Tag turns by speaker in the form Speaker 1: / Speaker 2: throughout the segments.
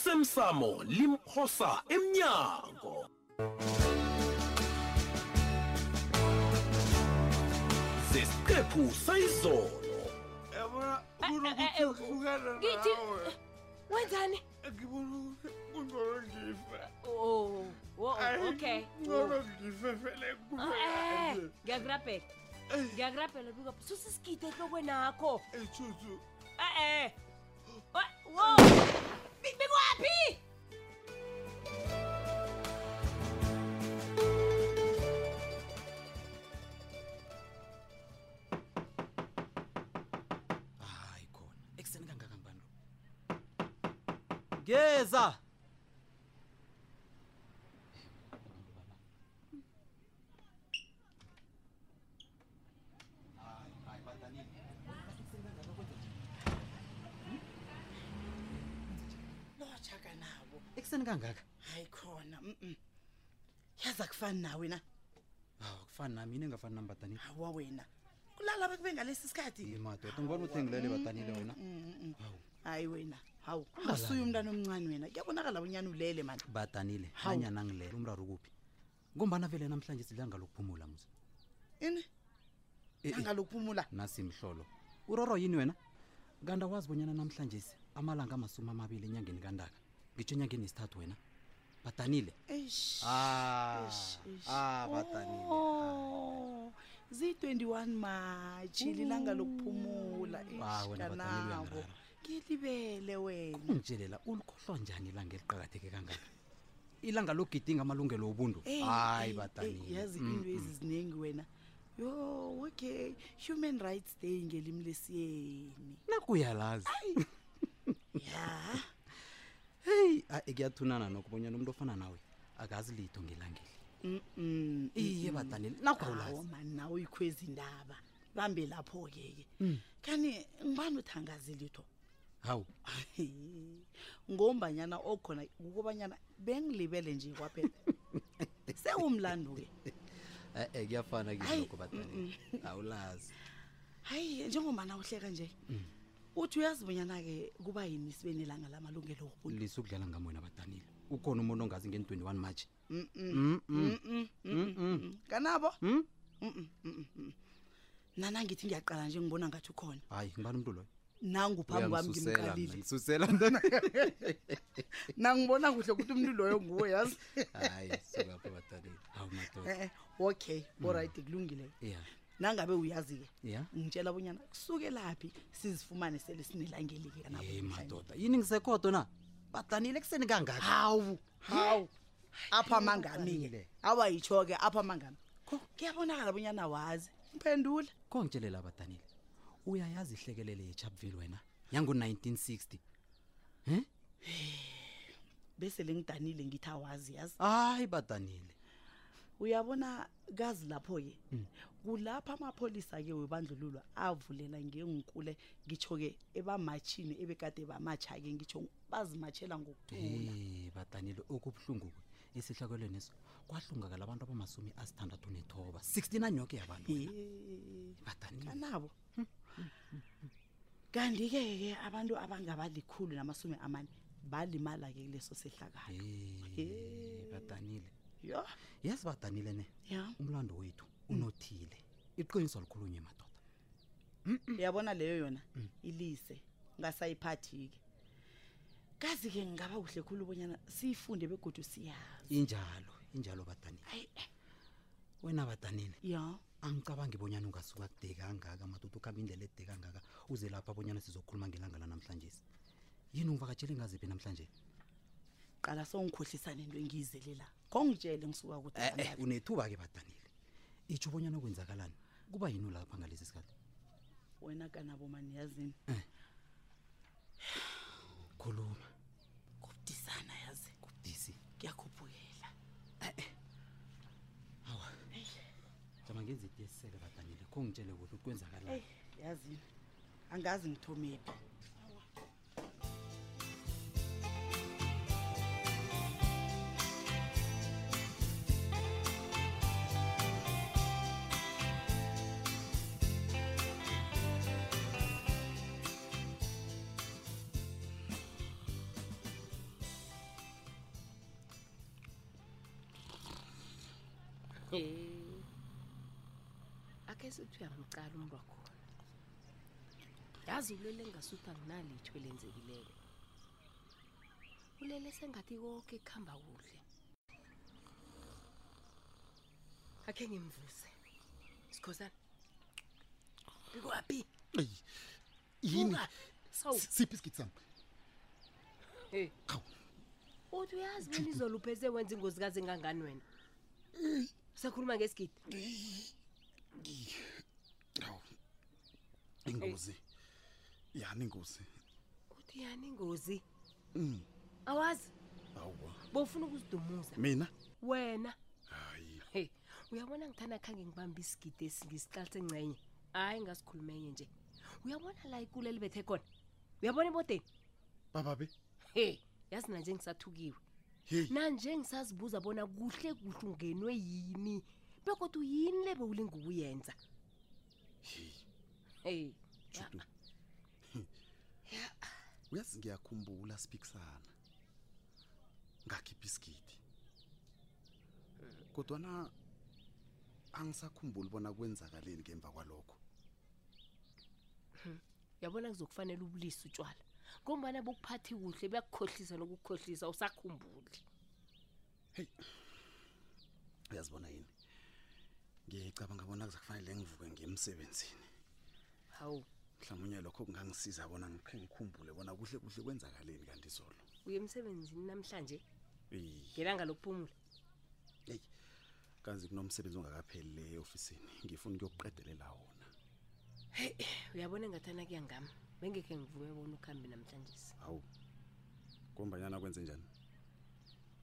Speaker 1: osemsamo limphosa emnyango zesiqephu sayizolo
Speaker 2: yabona
Speaker 3: Eh, eh, eh, eh,
Speaker 2: kunokuhlukana
Speaker 3: ngithi-
Speaker 2: nawe
Speaker 3: wenzani
Speaker 2: ngibona ukuthi kungcono ngife
Speaker 3: oh, wo-
Speaker 2: Ayi,
Speaker 3: okay
Speaker 2: kungcono ngife vele
Speaker 3: Eh,
Speaker 2: kubekanje
Speaker 3: ngiyakurabhela ngiyakurabhela bika susa isigidi ehlokwenakho
Speaker 2: ejuthu
Speaker 4: Eh,
Speaker 3: e-e
Speaker 4: Oh,
Speaker 3: wo bikwaphi
Speaker 5: hayi khona ekuseni kangaka ngibani lo ngeza
Speaker 6: lotshaka nabo
Speaker 5: ekuseni kangaka
Speaker 6: hayi khona mm yaza kufani na wena
Speaker 5: hawu akufani Ah, nami yini engafani nami badanile
Speaker 6: awa wena kulala bekube ngalesi sikhathi
Speaker 5: madoda ngibona ukuthi ngilele badanile wena
Speaker 6: hayi wena hawu ungasuye umntana omncane wena kuyabonakala unyana ulele mani
Speaker 5: badanile
Speaker 6: Hawu.
Speaker 5: nanyana ngilele umraro kuphi ngombana vele namhlanje silanga lokuphumula musa
Speaker 6: ini
Speaker 5: Eh, eh.
Speaker 6: angalokuphumula
Speaker 5: nasimhlolo uroro yini wena kanti awazi bonyana namhlanje amalanga amasumi amabili enyangeni kantaka ngitsho enyangeni yesithathu wena badanile
Speaker 6: eish
Speaker 5: Ah,
Speaker 6: eish, eish.
Speaker 5: ah, badanile,
Speaker 6: Oh, ziyi-21 matshi lilanga lokuphumula
Speaker 5: Ah, wena badanile
Speaker 6: ishkanabo
Speaker 5: uyangirara.
Speaker 6: ngilibele wena
Speaker 5: ungitshelela ulikhohlwa njani ilanga eliqakatheke kangaka ilanga logidinga amalungelo wobuntu hayi
Speaker 6: Eyi,
Speaker 5: Mm,
Speaker 6: eyi, eyi,
Speaker 5: badanile
Speaker 6: yazi into eziziningi wena yo okay human rights day ngelimi lesiyeni
Speaker 5: nakuyalazi
Speaker 6: ya
Speaker 5: heyi kuyathunana nokubonyana umuntu ofana nawe akazi litho ngelangeli
Speaker 6: mm
Speaker 5: iye badanile nakulazi
Speaker 6: mani nawe uyikhwezi indaba bambe lapho-ke ke
Speaker 5: Mm.
Speaker 6: kani ngibani uthangazi litho
Speaker 5: hawu
Speaker 6: ngombanyana okhona ukobanyana bengilibele nje kwaphela sewumlando-ke
Speaker 5: e-e kuyafana
Speaker 6: Hayi,
Speaker 5: kilokho badanile awulazi
Speaker 6: hayi njengomana uhleka nje
Speaker 5: Mm.
Speaker 6: uthi uyazibonyana-ke kuba yini sibe nelanga lamalungelo wobuntu
Speaker 5: lise ukudlala ngam wena badanile ukhona umuntu ongazi ngen 21 matshi Hmm?
Speaker 6: kanabo Mm-mm, mm-mm, mm-mm. nana ngithi ngiyaqala nje ngibona ngathi ukhona
Speaker 5: hayi ngibani umntu loyo
Speaker 6: nanguphambi kwami
Speaker 5: Uyamsusela mina,
Speaker 6: ngimqalile
Speaker 5: ngisusela ntona
Speaker 6: nangibona kuhle ukuthi umuntu loyo nguwe yazi
Speaker 5: hayi sukapha badanile hawu madoda
Speaker 6: Eh, okay olright kulungile
Speaker 5: ya
Speaker 6: nangabe uyazi-ke
Speaker 5: ya
Speaker 6: ngitshela bonyana kusukelaphi sizifumane sele sinelangeli-ke kanabo
Speaker 5: ye
Speaker 6: namhlanje.
Speaker 5: madoda yini ngisekhodo na badanile ekuseni kangaka
Speaker 6: hawu hawu apha mangami-ke awayitsho-ke apha mangami kuyabonakala bonyana wazi mphendula
Speaker 5: kho ngitshelela badanile uyayazi ihlekelele yechapville wena yangu-1960
Speaker 6: bese lengidanile ngithi awazi yazi
Speaker 5: hayi badanile
Speaker 6: uyabona kazi lapho-ke kulapha amapholisa-ke webandlululwa avulela ngenkule ngitsho-ke ebamatshini ebekade bamatsha-ke ngitsho bazimatshela ngokuthula
Speaker 5: e badanile okubuhlungu-ke esihlakweleneso kwahlungakala abantu abamasumi asithandathu nethoba 69 yoke yabantu wena.
Speaker 6: Eh,
Speaker 5: badanile
Speaker 6: kanabo kanti-ke-ke abantu abangabalikhulu namasumi amane balimala-ke kuleso sehlakalo
Speaker 5: Eh, badanile
Speaker 6: yo
Speaker 5: yazi badanile ne
Speaker 6: ya
Speaker 5: umlando wethu unothile iqiniso likhulunye madoda
Speaker 6: uyabona leyo yona ilise ngasayiphathi-ke kazi-ke ngingaba kuhle khulu ubonyana siyifunde begodu siyazi
Speaker 5: injalo injalo badanile
Speaker 6: ayi
Speaker 5: wena badanile
Speaker 6: ya
Speaker 5: angicabangi bonyana ungasuka kude kangaka madoda ukuhamba indlela ede kangaka uze lapha bonyana sizokhuluma ngelanga lanamhlanje yini ungivakatshele ngaziphi namhlanje
Speaker 6: qala sowungikhohlisa nento engiyizele la khongitshele ngisuka kude
Speaker 5: e-e
Speaker 6: kangaka.
Speaker 5: Eh, unethuba-ke badanile itsho bonyana kwenzakalani kuba yini lapha ngalesi sikhathi
Speaker 6: wena kanabo mani yazini
Speaker 5: khuluma
Speaker 6: kubudisana yazi
Speaker 5: kubudisi
Speaker 6: kuyakhuphukela
Speaker 5: jama ngenza iti esiseke badanile kho ngitshele kuhle ukuthi kwenzakalani
Speaker 6: yazini angazi ngithomephi
Speaker 4: Eh. akhe sithi uyamcala umntu wakhona yazi ulele ngasuthi anginalitsho elenzekileyo ulele sengathi konke kuhamba kuhle akhe ngimvuse sikhosana ngikwaphi
Speaker 7: eyi yini
Speaker 4: Vuka. sawu
Speaker 7: siphi isigidi sami
Speaker 4: Eh.
Speaker 7: Hawu.
Speaker 4: uthi uyazi bona izolo upheze wenza ingozi kazi engangani wena sakhuluma ngesigidi
Speaker 7: hawu ingozi yani ingozi
Speaker 4: uthi yani ingozi
Speaker 7: Mm.
Speaker 4: awazi
Speaker 7: awuwa
Speaker 4: bowufuna ukuzidumuza
Speaker 7: mina
Speaker 4: wena
Speaker 7: hayi
Speaker 4: he uyabona ngithanda khange ngibambe isigidi esingisiqalise ngcenye hhayi ngasikhulume enye nje uyabona la ikulu elibethe khona uyabona ebodeni
Speaker 7: bababe
Speaker 4: he yazi nanje ngisathukiwe
Speaker 7: heyi
Speaker 4: nanje ngisazibuza bona kuhle kuhle ungenwe yini bekodwa yini le bewulinga ukuyenza
Speaker 7: heyi
Speaker 4: hey
Speaker 7: judu uyazi ngiyakhumbula siphikisana ngakhipha isigidi kodwana angisakhumbuli bona kwenzakaleni ngemva kwalokho
Speaker 4: uyabona kuzokufanele ubulise utshwala ngombana bokuphathi kuhle buyakukhohlisa nokukukhohlisa usakhumbuli
Speaker 7: uyazibona yini ngicabanga bona kuzakufanele ngivuke ngiye emsebenzini
Speaker 4: hawu
Speaker 7: mhlawumunye lokho kungangisiza bona ngikhe ngikhumbule bona kuhle kuhle kwenzakaleni kanti izolo
Speaker 4: uye emsebenzini namhlanje
Speaker 7: eyi
Speaker 4: ngelanga lokuphumula
Speaker 7: eyi kanzi kunomsebenzi ongakapheli le ofisini ngifuna ukuyokuqedelela wona
Speaker 4: uyabona engathana kuya ngami bengekhe ngivume bona ukuhambe namhlanje
Speaker 7: hawu kombanyana kwenze njani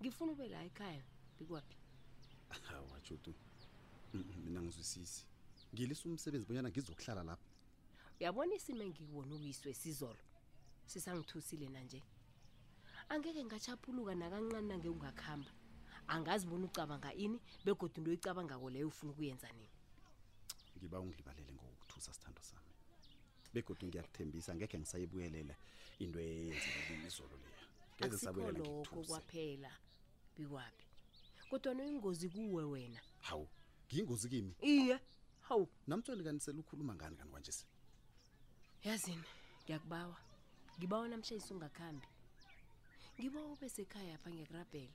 Speaker 4: ngifuna ube la ekhaya bikwaphi
Speaker 7: hawa judu Mm, mina ngizwisisi ngilisa umsebenzi bonyana ngizokuhlala lapha
Speaker 4: uyabona isimo engikuwona ukuyiswe sizolo sisangithusile nanje angeke ngachaphuluka nakancane nange ungakuhamba angazi bona ucabanga ini begodwa into oyicabangako leyo ufuna ukuyenza nini
Speaker 7: ngiba ungilibalele ngokuthusa sithando sami begodwa ngiyakuthembisa ngekhe ngisayibuyelela into eyenzekile izolo leya ngeze
Speaker 4: akusikho
Speaker 7: sabuyelela
Speaker 4: lokho
Speaker 7: ngikuthuse
Speaker 4: kwaphela bikwaphi kodwa noyingozi kuwe wena
Speaker 7: hawu ngiyingozi kimi
Speaker 4: iye hawu
Speaker 7: namtshali kanisela ukhuluma ngani kanti kwanje se
Speaker 4: yazini ngiyakubawa ngibawa namhlanje ungakhambi ngibawa ube sekhaya pha ngiyakurabhela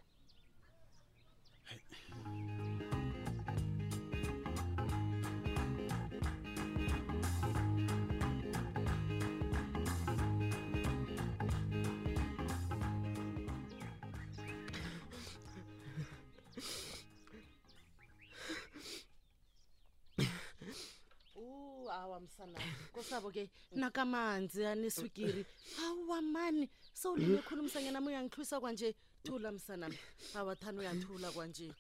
Speaker 6: u awa msana kosabo ke nakamanzi aneswigiri awuwa mani sowulele khulumisa ngenami uyangihlwisa kwanje thula msanami awathani uyathula kwanje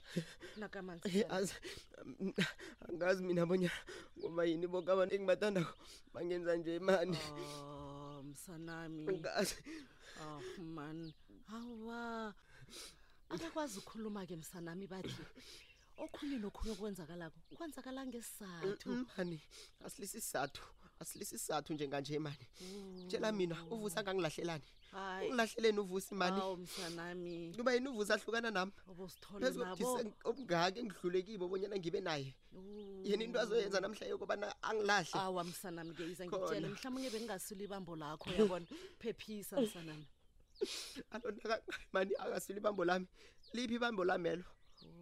Speaker 6: nakamanzi
Speaker 8: Eh, azi mm, angazi mina bonya ngoba yini bonke abantu engibathandako bangenza nje imani
Speaker 6: Oh, msanami
Speaker 8: angazi
Speaker 6: oh mani awa abakwazi ukukhuluma ke msanami bathi okhunye nokhunye okwenzakalako kwenzakala
Speaker 8: Eh,
Speaker 6: ngesizathu
Speaker 8: mani asilisisathu asilisisathu njenganje imani tshela mina uvusa angangilahlelani
Speaker 6: hayi
Speaker 8: ungilahleleni uvusa imani
Speaker 6: awu msanami
Speaker 8: kuba yini uvusa ahlukana nami
Speaker 6: obosithole
Speaker 8: phezu
Speaker 6: nabo
Speaker 8: kokuthi obungaki engidlulekibo bonyana ngibe naye
Speaker 6: Uh.
Speaker 8: yena into azoyenza namhla yokubana angilahle
Speaker 6: awa msanami ke iza
Speaker 8: Khona.
Speaker 6: ngitshele mhlawumunye bengingasula ibambo lakho yabona phephisa msanami
Speaker 8: alona mani akasilo ibambo lami liphi ibambo lamelo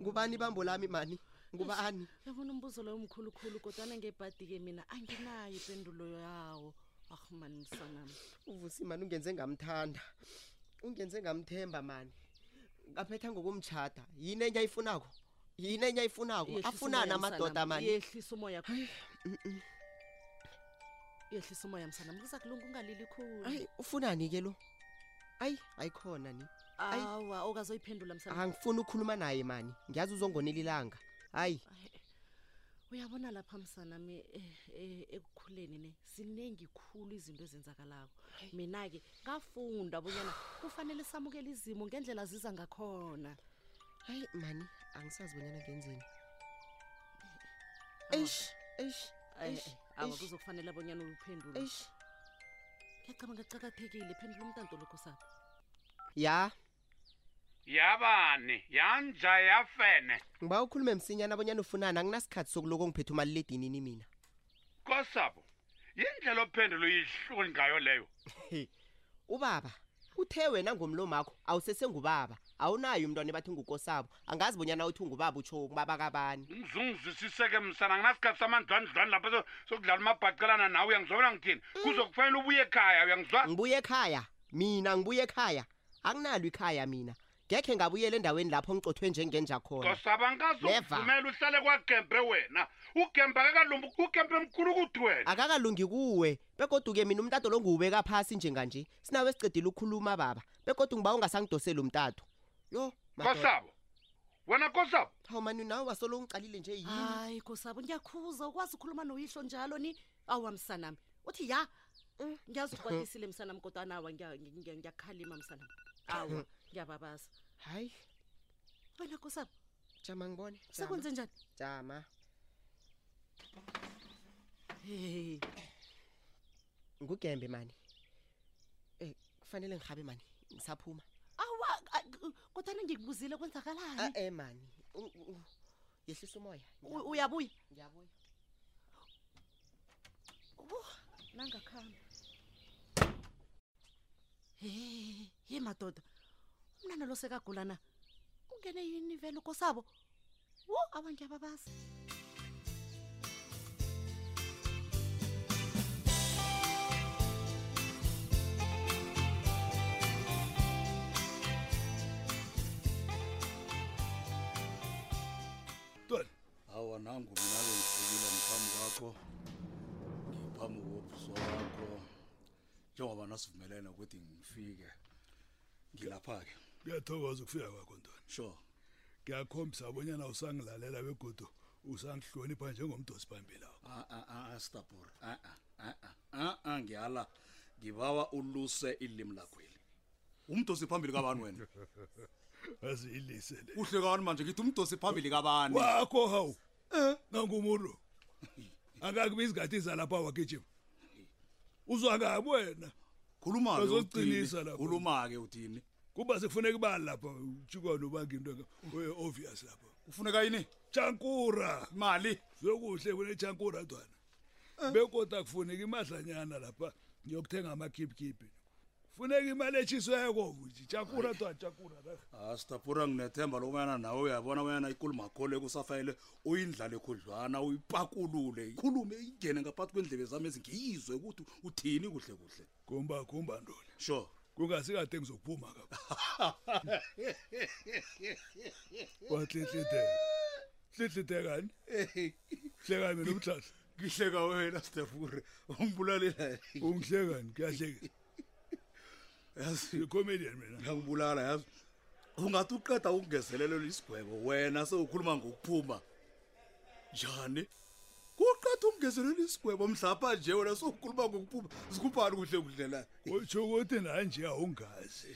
Speaker 8: ngubani ibambo lami mani ngubani
Speaker 6: yabona umbuzo loyo mkhulukhulu kodwana ngebhadi-ke mina anginayo impendulo yawo ahumani msanami
Speaker 8: uvusi mani ungenze ngamthanda ungenze ngamthemba mani ngaphetha ngokumtshata yini enye ayifunako yini enye ayifunako
Speaker 6: Yehlisa
Speaker 8: afunani
Speaker 6: umoya,
Speaker 8: amadoda
Speaker 6: msanami.
Speaker 8: mani mm,
Speaker 6: yehlisa umoya yehlisa umoya msanami kuza kulunga ungalili khulu
Speaker 8: ayi ufunani ke lo ayi ayikhona ni ayi.
Speaker 6: awa okazoyiphendula msanami
Speaker 8: angifuni ukukhuluma naye mani ngiyazi uzongonelilanga hayi
Speaker 6: uyabona lapha msanami eh, eh, ekukhuleni ne ziningi khulu izinto ezenzakalako mina-ke ngafunda bonyana kufanele samukela izimo ngendlela ziza ngakhona
Speaker 8: hayi mani angisazi bonyana ngenzeni eish eish eish
Speaker 6: awa
Speaker 8: eish,
Speaker 6: kuzokufanele abonyana uyiphendule
Speaker 8: eish
Speaker 6: ngiyacabanga kucakathekile phendula umntanto lokho sakho
Speaker 8: ya
Speaker 9: yabani yanja yafene
Speaker 8: ngiba ukhulume msinyana abonyana ufunani anginasikhathi sokuloko ngiphethe umaliledinini mina
Speaker 9: kosabo yindlela ophendulo yihluni ngayo leyo
Speaker 8: ubaba uthe wena ngomlomakho awusesengubaba awunayo umntwana ebathi ngukosabo angazi bonyana uthi ungubaba utsho ubaba kabani
Speaker 9: ngizungizwisiseke msana nginasikhathi samandlwandlwani lapho so- sokudlala umabhacelana nawe uyangizobona ngithini kuzokufanele ubuye ekhaya uyangizwa
Speaker 8: ngibuye ekhaya mina ngibuye ekhaya akunalo ikhaya mina ngekhe ngabuyela endaweni lapho ngicothwe njengenja khona
Speaker 9: kosaba ngazuvumela uhlale kwagembe wena ugembe akakalumbi ugembe mkhulu kuthi wena
Speaker 8: akakalungi kuwe begoduke mina umtato lo nguwubeka phasi njenganje sinawe sicedile ukukhuluma baba begodu ngiba ungasangidoseli umtato yo
Speaker 9: kosabo wena kosabo
Speaker 8: hawu mani nawe wasolo ngicalile nje yini
Speaker 6: Ah.
Speaker 10: hayi kosabo ngiyakhuza ukwazi ukhuluma noyihlo njalo ni awa msanami uthi ya
Speaker 8: Eh.
Speaker 10: ngiyazi ukwatisile msanami kodwa nawa ngiya- ngiya- ngiya- ngiyakhalima msanami awa
Speaker 8: Eh.
Speaker 10: ngiyababasa
Speaker 8: hayi
Speaker 10: wena kosabo
Speaker 8: jama ngibone jama.
Speaker 10: sekwenze njani
Speaker 8: jama
Speaker 10: hey
Speaker 8: ngugembe mani um kufanele ngihabe mani ngisaphuma
Speaker 10: awa a- k- kodwana ngikubuzile kwenzakalani
Speaker 8: a-e eh, mani U- u- u- yehlisa umoya
Speaker 10: U- uyabuya
Speaker 8: ngiyabuya
Speaker 10: nangakhamba he ye madoda umnana lo sekagula na ungene yini vele ukosabo wo awa ngiyababasa
Speaker 11: ntwana hawa nangu mina bengifikile ngiphambi kwakho ngiphambi kobhuso wakho njengoba nasivumelene ukuthi ngifike ngilapha-ke
Speaker 12: ngiyathokoza ukufika kwakho ntoni
Speaker 11: sure
Speaker 12: ngiyakhombisa abonyana usangilalela begodu usangihlonipha njengomdosi phambili wakho
Speaker 11: Ah, astabur ah, a-a ngiyala ngibawa uluse ilimi lakhweli umdosi phambili kabani wena
Speaker 12: aziyilise le
Speaker 11: uhle kani manje ngithi umdosi phambili kabani
Speaker 12: wakho hawu
Speaker 11: Eh?
Speaker 12: nangumuru angakubizi ngathisa lapha wagijima uzwangabi wena
Speaker 11: khuluma
Speaker 12: bazosiqinisa lapho
Speaker 11: khuluma-ke uthini
Speaker 12: kuba sekufuneka ibali lapha utshikwane ubanga into obvious lapha
Speaker 11: kufuneka yini
Speaker 12: jankura
Speaker 11: mali
Speaker 12: zokuhle kunejankura ntwana
Speaker 11: Eh?
Speaker 12: bekoda kufuneka imadlanyana lapha ngiyokuthenga amakhiphikhiphi kufuneka imali etshisweko jankura ntwana jankura
Speaker 11: asitapura Ah, nginethemba lokubana nawe uyabona bonyana ikulumakholo ekusafanele uyindlale khudlwana uyipakulule ikhulume ingene ngaphakathi kwendlebe zami ezingiyizwe ukuthi uthini kuhle kuhle
Speaker 12: kumba kumba ntoni
Speaker 11: sure
Speaker 12: kungasikade ngizokuphuma kapa
Speaker 11: watlitliteka
Speaker 12: hlihlite kani hleka mina umhlahla
Speaker 11: ngihleka wena stefure ungibulalela
Speaker 12: ungihlekani kuyahleka
Speaker 11: yazi
Speaker 12: i-comedian mina
Speaker 11: ngiyangibulala yazi ungathi uqeda ukungezelelelwa isigwebo wena sewukhuluma ngokuphuma njani kuqeda ukungezelelwa isigwebo mhlapha nje wena sewukhuluma ngokuphuma zikuphani kuhle kuhle la
Speaker 12: utsho ukuthi nanje awungazi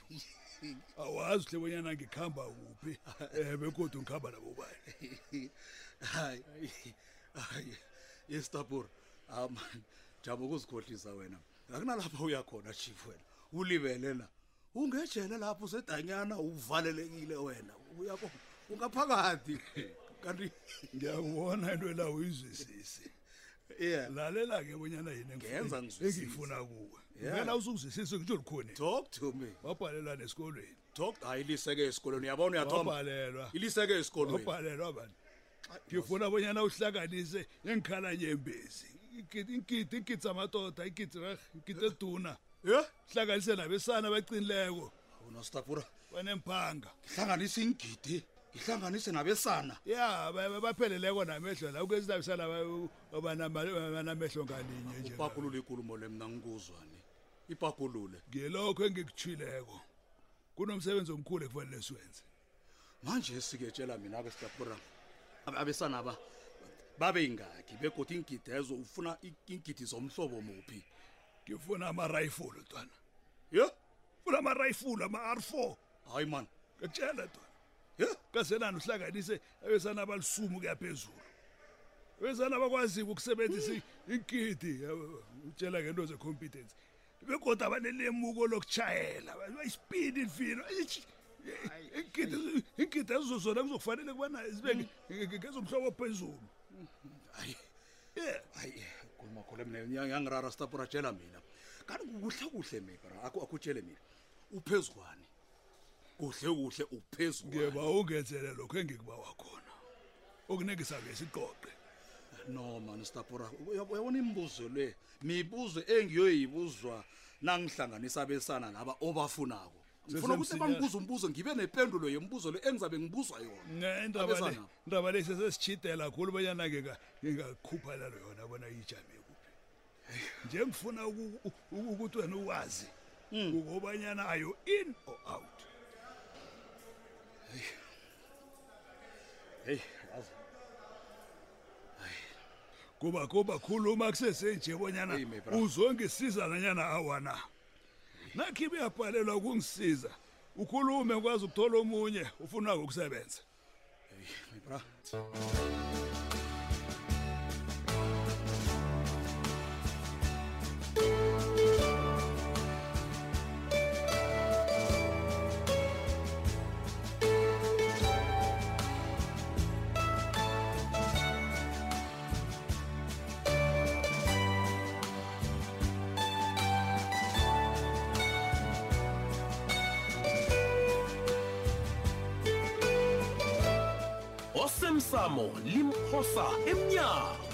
Speaker 12: awazi uhle bonyana ngikuhamba kuphi um bekodwa ngikuhamba nabo bani
Speaker 11: hayi hayi yestabur aman jama ukuzikhohlisa wena akunalapha uyakhona chief wena ulibele na ungejele lapho usedanyana uvalelekile wena uyabo ungaphakathi kanti
Speaker 12: ngiyakubona into la uyizwisisi lalela-ke bonyana yini
Speaker 11: Ngenza
Speaker 12: engifuna-
Speaker 11: ngizwisise.
Speaker 12: engifuna kuwe
Speaker 11: Yeah.
Speaker 12: ngena usungizwisise ngitsho likhoni
Speaker 11: talk to me
Speaker 12: wabhalelwa nesikolweni
Speaker 11: talk hayi liseke esikolweni uyabona uyathoma
Speaker 12: wabhalelwa
Speaker 11: iliseke esikolweni
Speaker 12: wabhalelwa bani ngifuna bonyana uhlanganise engikhalanye embezi inkidi inkidi zamatoda inkidi rah inkidi eduna hlanganise nabesana abaqinileko
Speaker 11: unostapura
Speaker 12: banempanga
Speaker 11: ngihlanganise ingidi ngihlanganise nabesana
Speaker 12: ya ba- ba- bapheleleko namehlo la ukezinabesana banamehlo ngalinye nje
Speaker 11: upakulule ikulumo le mna ngikuzwane ipakulule
Speaker 12: ngelokho engikutshileko kunomsebenzi omkhulu ekufanele siwenze
Speaker 11: manje siketshela mina-ke sitapura abesana ba babe yingakhi begodi ingidezo ufuna i- ingidi zomhlobo muphi
Speaker 12: ngifuna amarayifulu ntwana
Speaker 11: ye
Speaker 12: funa amarayifulu ama-r4
Speaker 11: hayi mani
Speaker 12: ngakutshela ntwana ye kasenani uhlanganise abesana abalisumu kuyaphezulu abesana abakwaziyo ukusebenzisa i-
Speaker 11: Hmm.
Speaker 12: inkidi yabo, utshela ngento ze-competence begoda abanelemuko lokutshayela ba- ba- isipidi lifino iinkidi- iinkidi ezo zona kuzokufanele kubana zibe nge- nge- ngezomhlobo phezulu
Speaker 11: hayi khuluma khole mina yang- yangirara sitapurajela mina kanti kuhle kuhle mina akutshele mina uphezukwane kuhle kuhle uphezulu
Speaker 12: ngeba ungenzele lokho engikuba wakhona okuningi sabe siqoqe
Speaker 11: no mani sitapura uyabona imibuzo le mibuzo engiyoyibuzwa nangihlanganisa abesana laba obafunako ngifuna ukuthi
Speaker 12: Sesemsinya-
Speaker 11: bangibuza umbuzo ngibe nempendulo yombuzo le engizabe ngibuzwa yona
Speaker 12: Ne, indaba le-
Speaker 11: Abesana.
Speaker 12: indaba le sesesitshidela khulu banyana ngingakhuphalalo yona bona ijame kuphi nje ngifuna uku- u- u- ukuthi wena uwazi ukobanyana are you in or out
Speaker 11: heyi yazi
Speaker 12: kuba kuba khuluma kusesenje bonyana uzongisiza nanyana awana nakhi beyabhalelwa ukungisiza ukhulume kwazi ukuthola omunye ufuna ukusebenza
Speaker 11: bra
Speaker 1: osemsamo limphosa emnyango